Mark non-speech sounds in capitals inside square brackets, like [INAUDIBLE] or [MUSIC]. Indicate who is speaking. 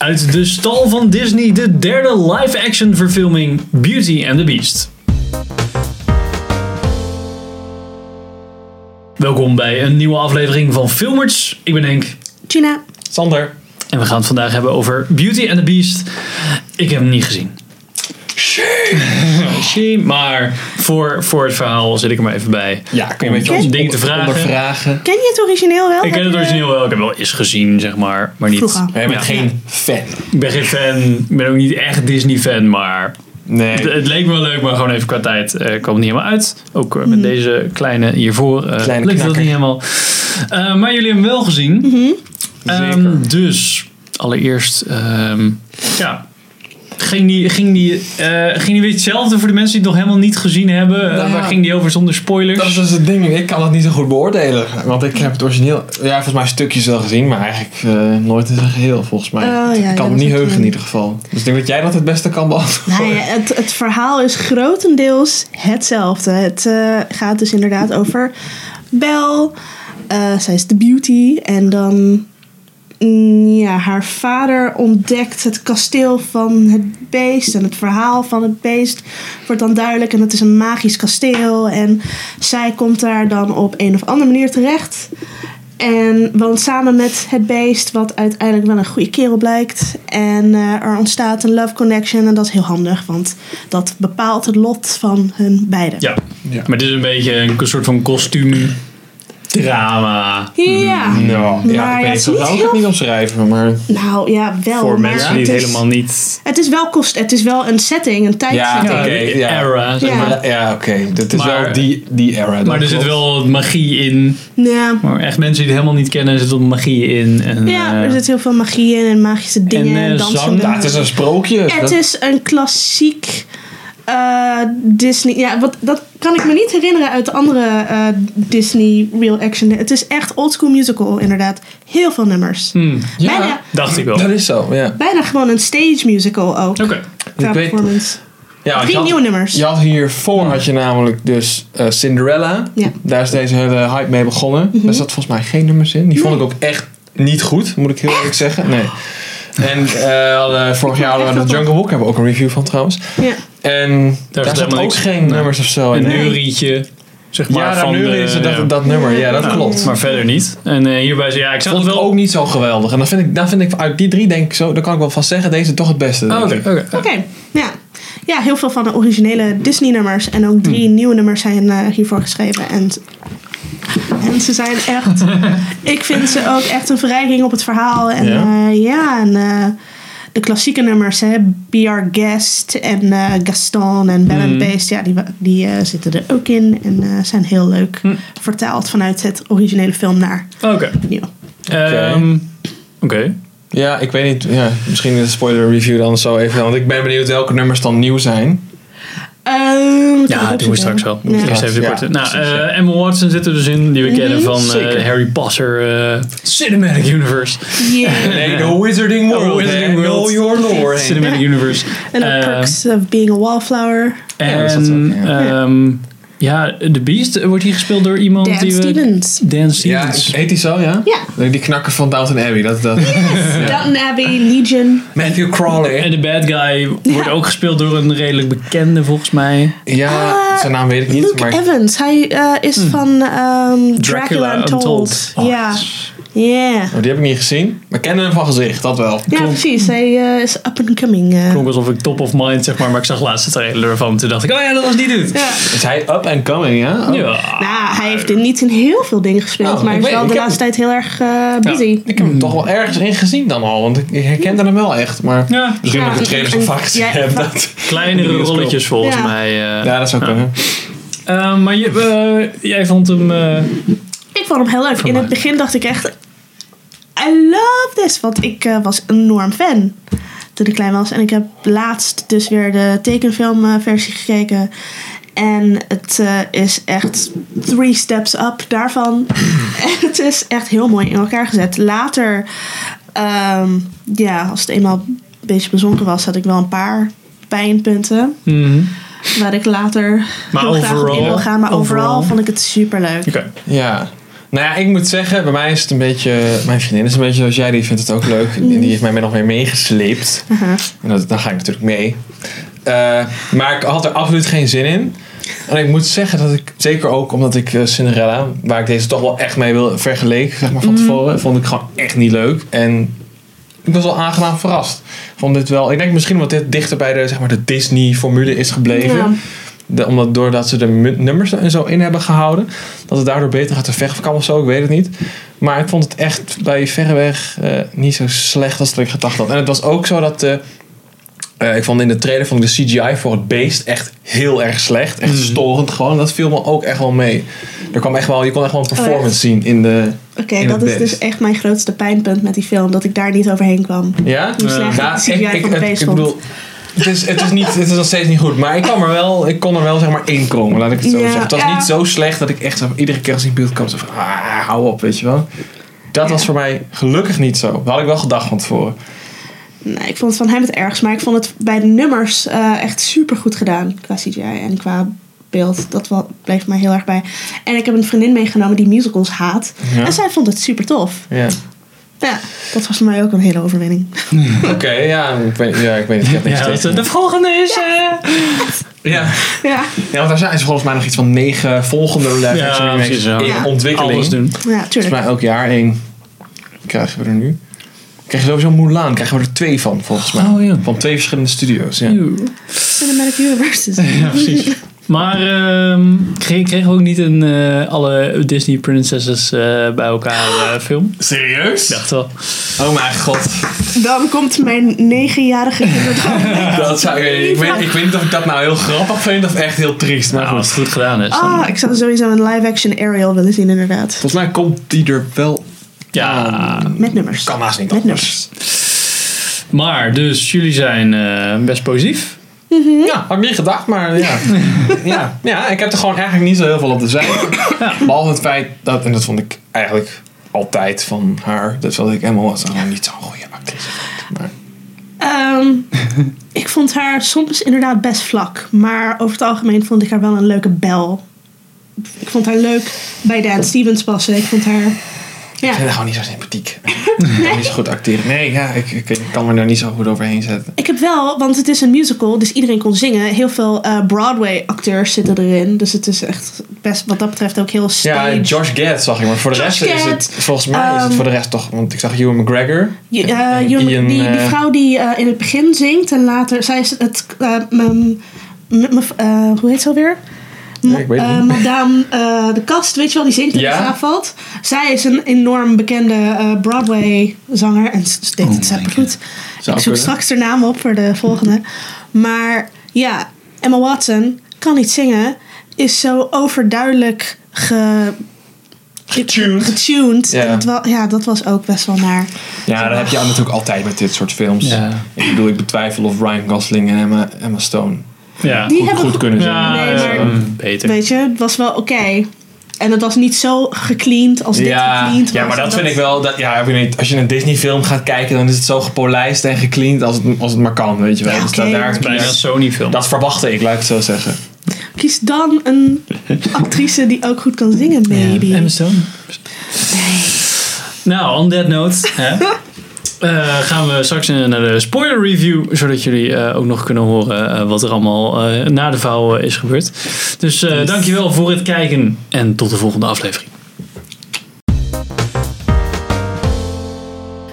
Speaker 1: Uit de stal van Disney de derde live-action verfilming Beauty and the Beast. Welkom bij een nieuwe aflevering van Filmers. Ik ben Henk
Speaker 2: Gina.
Speaker 3: Sander.
Speaker 1: en we gaan het vandaag hebben over Beauty and the Beast. Ik heb hem niet gezien. [LAUGHS] Shame, Maar voor, voor het verhaal zit ik er maar even bij.
Speaker 3: Ja, kun je een beetje
Speaker 1: Om
Speaker 3: ons
Speaker 1: dingen te
Speaker 3: onder-
Speaker 1: vragen.
Speaker 3: ondervragen.
Speaker 2: Ken je het origineel wel?
Speaker 1: Ik ken
Speaker 2: Heb
Speaker 1: het
Speaker 2: je-
Speaker 1: origineel wel. Ik heb wel eens gezien, zeg maar. Maar niet...
Speaker 2: Vroeger.
Speaker 3: Jij bent
Speaker 1: Ja.
Speaker 3: geen fan.
Speaker 1: Ik ben geen fan. Ik ben ook niet echt Disney-fan, maar...
Speaker 3: Nee.
Speaker 1: Het, het leek me wel leuk, maar gewoon even qua tijd eh, kwam het niet helemaal uit. Ook eh, met deze kleine hiervoor eh
Speaker 3: Mhm. Kleine
Speaker 1: lukte dat
Speaker 3: knakker. Mhm.
Speaker 1: niet helemaal. Eh, maar jullie hebben hem wel gezien. Ehm, dus, allereerst... ehm, ja... Ging die, ging, die, eh, ging die weer hetzelfde voor de mensen die het nog helemaal niet gezien hebben? Eh,
Speaker 3: Nou ja.
Speaker 1: waar ging die over zonder spoilers?
Speaker 3: Dat is dus het ding. Ik kan dat niet zo goed beoordelen. Want ik heb het origineel... Ja, volgens mij stukjes wel gezien. Maar eigenlijk eh, nooit in zijn geheel, volgens mij.
Speaker 2: Oh, ja,
Speaker 3: ik
Speaker 2: ja,
Speaker 3: kan
Speaker 2: dat
Speaker 3: me niet
Speaker 2: is
Speaker 3: heugen in
Speaker 2: een-
Speaker 3: ieder geval. Dus ik denk dat jij dat het beste kan beantwoorden.
Speaker 2: Nou ja, het, het verhaal is grotendeels hetzelfde. Het eh, gaat dus inderdaad over Belle. Eh, zij is de beauty. En dan... mm, ja, haar vader ontdekt het kasteel van het beest. En het verhaal van het beest wordt dan duidelijk. En het is een magisch kasteel. En zij komt daar dan op een of andere manier terecht. En woont samen met het beest, wat uiteindelijk wel een goede kerel blijkt. En eh, er ontstaat een love connection. En dat is heel handig, want dat bepaalt het lot van hun beiden.
Speaker 1: Ja.
Speaker 3: Ja.
Speaker 1: maar dit is een beetje een soort van kostuumdrama.
Speaker 3: Oh,
Speaker 2: Ja.
Speaker 3: [LAUGHS]
Speaker 1: Mhm.
Speaker 3: Nou,
Speaker 2: Maar ja,
Speaker 3: ja, ik weet
Speaker 2: het is niet
Speaker 3: niet. Zo zou ik
Speaker 2: heel-
Speaker 3: het niet omschrijven, maar...
Speaker 2: Nou ja, wel.
Speaker 1: Voor
Speaker 2: maar
Speaker 1: mensen die het
Speaker 2: is-
Speaker 1: helemaal niet...
Speaker 2: Het is wel kost. Het is wel een setting, een tijdsetting.
Speaker 3: Ja,
Speaker 1: Ja,
Speaker 3: oké,
Speaker 1: de
Speaker 3: ja.
Speaker 1: era, zeg
Speaker 2: Ja.
Speaker 1: maar.
Speaker 3: Ja, oké. Dit is
Speaker 1: Maar-
Speaker 3: wel die, die era. dat
Speaker 1: Maar er zit
Speaker 3: klopt.
Speaker 1: wel wat magie in.
Speaker 2: Ja.
Speaker 1: Maar echt mensen die het helemaal niet kennen, er zit wat magie in. En,
Speaker 2: Ja,
Speaker 1: eh,
Speaker 2: er zit heel veel magie in en magische dingen en,
Speaker 1: eh, zang.
Speaker 2: dansende.
Speaker 3: Ja, Ah, het is een sprookje.
Speaker 2: Het
Speaker 3: Dat-
Speaker 2: is een klassiek eh, Disney. Ja, wat, dat kan ik me niet herinneren uit de andere eh, Disney real action. Het is echt old school musical, inderdaad. Heel veel nummers.
Speaker 1: hmm,
Speaker 3: Ja,
Speaker 2: Bijna,
Speaker 1: dacht ik wel.
Speaker 3: dat
Speaker 1: Oké.
Speaker 3: is zo, ja.
Speaker 2: bijna gewoon een stage musical ook. Qua
Speaker 3: Ik weet-
Speaker 2: performance.
Speaker 3: ja want je
Speaker 2: Drie
Speaker 3: had-
Speaker 2: nieuwe nummers.
Speaker 3: Je had hiervoor had je namelijk dus eh, Cinderella.
Speaker 2: Ja.
Speaker 3: Daar is deze hele hype mee begonnen.
Speaker 1: Mhm.
Speaker 3: Daar zat volgens mij geen nummers in. Die vond ik ook echt niet goed, moet ik heel eerlijk zeggen. Nee. En eh,
Speaker 1: [LAUGHS]
Speaker 3: hadden- vorig jaar hadden we
Speaker 2: echt
Speaker 3: de
Speaker 2: wel-
Speaker 3: Jungle Book, hebben we ook een review van trouwens.
Speaker 2: Ja.
Speaker 3: En daar,
Speaker 1: zat
Speaker 3: zat
Speaker 1: helemaal
Speaker 3: ook
Speaker 1: niks
Speaker 3: geen
Speaker 1: in.
Speaker 3: nummers of zo.
Speaker 1: Een
Speaker 3: in.
Speaker 1: neurietje. Zeg maar
Speaker 3: ja,
Speaker 1: van
Speaker 3: nu
Speaker 1: de-
Speaker 3: is het
Speaker 1: ja.
Speaker 3: dat, dat nummer. Ja, dat
Speaker 1: Nou,
Speaker 3: klopt.
Speaker 1: Maar verder niet. En eh, hierbij zei ja, ik zag
Speaker 3: Vond
Speaker 1: het
Speaker 3: ik
Speaker 1: wel...
Speaker 3: ook niet zo geweldig. En dan vind ik, dan vind ik uit die drie denk ik zo, daar kan ik wel van zeggen, deze toch het beste.
Speaker 1: Oh,
Speaker 3: denk
Speaker 1: oké,
Speaker 3: ik.
Speaker 1: oké.
Speaker 2: Oké, ja. Ja, heel veel van de originele Disney-nummers en ook drie
Speaker 1: Hmm.
Speaker 2: nieuwe nummers zijn eh, hiervoor geschreven. En, en ze zijn
Speaker 1: [LAUGHS]
Speaker 2: echt. ik vind ze ook echt een verrijking op het verhaal. En
Speaker 3: Ja?
Speaker 2: ja, ja en eh, de klassieke nummers, hè, Be Our Guest en eh, Gaston en Belle
Speaker 1: Hmm.
Speaker 2: and the Beast, ja, die, wa- die eh, zitten er ook in en eh, zijn heel leuk
Speaker 1: Hmm.
Speaker 2: vertaald vanuit het originele film naar
Speaker 1: Oké.
Speaker 2: het nieuwe.
Speaker 1: Ehm, Oké.
Speaker 3: Ja, ik weet niet. Ja, misschien in de spoiler review dan zo even. Want ik ben benieuwd welke nummers dan nieuw zijn.
Speaker 2: Ehm, wat kan ik
Speaker 1: Ja,
Speaker 2: ook
Speaker 1: dat doen we
Speaker 2: zeggen?
Speaker 1: straks wel.
Speaker 2: Ja. Mhm,
Speaker 1: Eerst even de
Speaker 3: Ja,
Speaker 1: korte. Nou,
Speaker 3: precies, ja.
Speaker 1: eh, Emma Watson zit er dus in, die we kennen van eh,
Speaker 3: Zeker.
Speaker 1: Harry Potter eh, Cinematic Universe.
Speaker 2: [LAUGHS] Yeah.
Speaker 3: Nee, The Wizarding
Speaker 1: World, hè. Know
Speaker 3: Your Lore.
Speaker 1: Cinematic Universe.
Speaker 2: [LAUGHS] En ook
Speaker 1: Ehm,
Speaker 2: Perks of Being a Wallflower.
Speaker 1: En
Speaker 3: Ja, dat is dat ook,
Speaker 1: ja. ja, The Beast eh, wordt hier gespeeld door iemand
Speaker 2: Dan
Speaker 1: die we...
Speaker 2: Stevens.
Speaker 1: Dan
Speaker 3: Ja,
Speaker 1: Stevens.
Speaker 3: heet die zo, ja?
Speaker 2: Ja.
Speaker 3: Die knakker van Downton Abbey. Dat, dat.
Speaker 2: Downton Abbey, Legion.
Speaker 3: Matthew
Speaker 1: En
Speaker 3: Crawley.
Speaker 1: de bad guy wordt
Speaker 2: Ja.
Speaker 1: ook gespeeld door een redelijk bekende volgens mij.
Speaker 3: Ja,
Speaker 2: Ah,
Speaker 3: zijn naam weet ik niet.
Speaker 2: Luke
Speaker 3: Maar Hmm.
Speaker 2: Evans, hij eh, is van ehm, Dracula Untold.
Speaker 1: Oh,
Speaker 2: Ja.
Speaker 1: dat is-
Speaker 2: Ja.
Speaker 3: Oh, die heb ik niet gezien. We kennen hem van gezicht, dat wel.
Speaker 2: Ja, precies. Hij eh, is up and coming. eh.
Speaker 1: Klonk alsof ik top of mind zeg maar, maar ik zag laatst het trailer ervan. Toen dacht ik, oh ja, dat was die dude.
Speaker 2: Ja.
Speaker 3: Is hij up and coming, ja? Oh.
Speaker 1: Ja.
Speaker 2: Nou, hij heeft er niet in heel veel dingen gespeeld,
Speaker 3: Oh,
Speaker 2: maar hij
Speaker 3: ik
Speaker 2: is
Speaker 3: weet-
Speaker 2: wel
Speaker 3: ik
Speaker 2: de
Speaker 3: heb-
Speaker 2: laatste tijd heel erg eh, busy.
Speaker 3: Ik heb hem toch wel ergens in gezien dan al. Want ik- ik herkende hem wel echt. Maar
Speaker 1: Ja.
Speaker 3: misschien
Speaker 2: Ja.
Speaker 3: heb ik de trailers al vaak gezien.
Speaker 2: Ja,
Speaker 3: heb,
Speaker 2: vaak.
Speaker 3: dat.
Speaker 1: Kleinere
Speaker 3: Bioscoop.
Speaker 1: rolletjes volgens
Speaker 2: Ja.
Speaker 1: mij. eh.
Speaker 3: ja, dat zou kunnen.
Speaker 1: Eh, maar je, eh, jij vond hem... eh,
Speaker 2: Ik vond hem heel leuk. In
Speaker 1: mij.
Speaker 2: het begin dacht ik echt, I love this, want ik eh, was enorm fan toen ik klein was. En ik heb laatst dus weer de tekenfilmversie gekeken. En het eh, is echt three steps up
Speaker 1: [LAUGHS]
Speaker 2: daarvan. en het is echt heel mooi in elkaar gezet. Later, ehm, ja, als het eenmaal een beetje bezonken was, had ik wel een paar pijnpunten.
Speaker 1: mhm.
Speaker 2: Waar ik later
Speaker 1: Maar
Speaker 2: heel graag op in
Speaker 1: overal-
Speaker 2: wil gaan. Maar overal,
Speaker 1: overal-
Speaker 2: vond ik het super leuk.
Speaker 1: Oké.
Speaker 3: Ja. Nou ja, ik moet zeggen, bij mij is het een beetje. Mijn vriendin is een beetje zoals jij, die vindt het ook leuk.
Speaker 2: Mm.
Speaker 3: En die heeft mij nog weer meegesleept.
Speaker 2: Aha.
Speaker 3: En dat, dan ga ik natuurlijk mee. Eh, maar ik had er absoluut geen zin in. En ik moet zeggen dat ik, zeker ook omdat ik eh, Cinderella, waar ik deze toch wel echt mee wil vergeleken, zeg maar van tevoren, vond ik gewoon echt niet leuk. En ik was wel aangenaam verrast. Ik Vond dit wel, ik denk misschien omdat dit dichter bij de, zeg maar, de Disney-formule is gebleven.
Speaker 2: Ja.
Speaker 3: De- omdat doordat ze de mu- nummers en zo in hebben gehouden, dat het daardoor beter gaat te vechten kan of zo, ik weet het niet. Maar ik vond het echt bij verreweg eh, niet zo slecht als dat ik gedacht had. En het was ook zo dat. eh, eh, ik vond in de trailer vond ik de CGI voor het beest echt heel erg slecht. Echt storend gewoon. Dat viel me ook echt wel mee. Er kwam echt wel, je kon echt wel een performance zien in de.
Speaker 2: Oké,
Speaker 3: In
Speaker 2: dat
Speaker 3: het
Speaker 2: is
Speaker 3: best.
Speaker 2: dus echt mijn grootste pijnpunt met die film. Dat ik daar niet overheen kwam.
Speaker 3: Ja?
Speaker 2: Hoe
Speaker 1: Ja.
Speaker 2: slecht
Speaker 3: Ja,
Speaker 2: de
Speaker 3: ik,
Speaker 2: CGI
Speaker 3: ik,
Speaker 2: van het
Speaker 3: het-
Speaker 2: beest
Speaker 3: ik
Speaker 2: vond.
Speaker 3: bedoel, het is, het, is niet, het is nog steeds niet goed, maar ik, kwam er wel, ik kon er wel zeg maar in komen, laat ik het zo
Speaker 2: Ja,
Speaker 3: zeggen. Het was
Speaker 2: ja.
Speaker 3: niet zo slecht dat ik echt zo- iedere keer als ik in beeld kwam, zo van, ah, hou op, weet je wel. Dat
Speaker 2: Ja.
Speaker 3: was voor mij gelukkig niet zo. Dat had ik wel gedacht van tevoren.
Speaker 2: Nee, ik vond het van hem het ergst. Maar ik vond het bij de nummers eh, echt super goed gedaan. Qua CGI en qua beeld. Dat wel, bleef mij heel erg bij. En ik heb een vriendin meegenomen die musicals haat.
Speaker 3: Ja.
Speaker 2: En zij vond het super tof.
Speaker 3: Ja.
Speaker 2: Ja, dat was voor mij ook een hele overwinning.
Speaker 3: Oké, ja, ik weet, ja, ik weet niet. Ik heb niks
Speaker 1: Ja, dat,
Speaker 3: tegen.
Speaker 1: eh, de volgende is... eh,
Speaker 3: ja.
Speaker 2: ja,
Speaker 3: ja, want daar zijn ze volgens mij nog iets van negen volgende live
Speaker 1: Ja,
Speaker 3: action remakes
Speaker 1: precies, ja.
Speaker 3: in
Speaker 2: Ja.
Speaker 3: ontwikkeling.
Speaker 1: alles doen.
Speaker 2: ja,
Speaker 3: Volgens
Speaker 2: tuurlijk.
Speaker 3: mij elk jaar één krijgen we er nu. Krijg je sowieso Mulan, krijgen we er twee van volgens mij.
Speaker 1: Oh, ja.
Speaker 3: Van twee verschillende studio's, ja.
Speaker 1: Eeuw.
Speaker 2: Cinematic Universes.
Speaker 3: [LAUGHS]
Speaker 1: Ja,
Speaker 2: [LAUGHS]
Speaker 1: precies. Maar ehm kreeg, kreeg ook niet een, eh, alle Disney princesses eh, bij elkaar eh, film?
Speaker 3: Serieus?
Speaker 1: Ik dacht wel.
Speaker 3: Oh mijn god.
Speaker 2: Dan komt mijn negenjarige kinderdroom.
Speaker 3: [LAUGHS] Dat zou, ik, ik weet, ik weet niet of ik dat nou heel grappig vind of echt heel triest. Maar
Speaker 1: Nou, als
Speaker 3: goed.
Speaker 1: het goed gedaan is. dan-
Speaker 2: Ah, ik zou sowieso een live-action Ariel willen zien inderdaad.
Speaker 3: Volgens mij komt die er wel...
Speaker 1: ja,
Speaker 2: Met nummers.
Speaker 3: Kan haast niet
Speaker 2: Met
Speaker 3: anders.
Speaker 1: maar dus jullie zijn eh, best positief.
Speaker 3: Ja, had ik niet gedacht, maar [LAUGHS] ja. ja. Ja, ik heb er gewoon eigenlijk niet zo heel veel op te zeggen. Behalve het feit dat, en dat vond ik eigenlijk altijd van haar, dat vond ik helemaal was gewoon niet zo'n goede actrice. vond. Maar
Speaker 2: Ehm, ik vond haar soms inderdaad best vlak. Maar over het algemeen vond ik haar wel een leuke bel. Ik vond haar leuk bij Dan Stevens passen. Ik vond haar...
Speaker 3: ik vind
Speaker 2: Ja.
Speaker 3: haar gewoon niet zo sympathiek. Ik kan niet zo goed acteren. Nee, ja, ik, ik, ik kan me daar niet zo goed overheen zetten.
Speaker 2: Ik heb wel, want het is een musical, dus iedereen kon zingen. Heel veel eh, Broadway-acteurs zitten erin. Dus het is echt best wat dat betreft ook heel
Speaker 3: Ja,
Speaker 2: stage.
Speaker 3: en Josh Gad zag ik, maar voor de
Speaker 2: Josh
Speaker 3: rest is het,
Speaker 2: Gad,
Speaker 3: volgens mij is het
Speaker 2: ehm,
Speaker 3: voor de rest toch, want ik zag Ewan McGregor.
Speaker 2: Je- eh,
Speaker 3: en
Speaker 2: jongen-
Speaker 3: Ian,
Speaker 2: die, die
Speaker 3: eh,
Speaker 2: vrouw die eh, in het begin zingt en later... Zij is het... eh, m- m- m- eh, hoe heet ze alweer?
Speaker 3: Ja, ik weet het
Speaker 2: Eh,
Speaker 3: niet.
Speaker 2: Madame eh, de Kast, weet je wel, die zingt in
Speaker 3: Ja.
Speaker 2: de slaap valt. Zij is een enorm bekende eh, Broadway-zanger en ze deed het supergoed. Ik zoek
Speaker 3: Oh Zou kunnen.
Speaker 2: straks haar naam op voor de volgende. Maar ja, Emma Watson kan niet zingen, is zo overduidelijk ge,
Speaker 3: Getuned.
Speaker 2: getuned.
Speaker 3: Ja.
Speaker 2: En het wel- ja, dat was ook best wel naar.
Speaker 3: Ja, dat heb je natuurlijk altijd met dit soort films.
Speaker 1: Ja.
Speaker 3: Ik bedoel, ik betwijfel of Ryan Gosling en Emma, Emma Stone
Speaker 1: Ja.
Speaker 2: Die
Speaker 3: goed,
Speaker 2: hebben
Speaker 3: goed
Speaker 2: goed-
Speaker 3: kunnen zijn.
Speaker 1: Ja,
Speaker 2: Nee, maar-
Speaker 1: ja, beter.
Speaker 2: Weet je, het was wel oké. En het was niet zo gecleaned als dit
Speaker 3: Ja,
Speaker 2: gecleaned
Speaker 3: ja,
Speaker 2: was.
Speaker 3: maar dat vind ik wel. Dat, ja, ik weet niet, als je een Disney film gaat kijken, dan is het zo gepolijst en gecleaned als het, als het maar kan, weet je wel.
Speaker 2: Ja,
Speaker 3: Dus dat,
Speaker 2: oké.
Speaker 3: daar,
Speaker 1: Bijna een Sony film.
Speaker 3: dat verwachtte ik, laat ik het zo zeggen.
Speaker 2: Kies dan een actrice die ook goed kan zingen, maybe.
Speaker 1: Emma Stone. Nou, on that note hè,
Speaker 2: [LAUGHS]
Speaker 1: eh, gaan we straks eh, naar de spoiler review, zodat jullie eh, ook nog kunnen horen eh, wat er allemaal eh, na de vouw eh, is gebeurd. Dus eh, dankjewel voor het kijken en tot de volgende aflevering.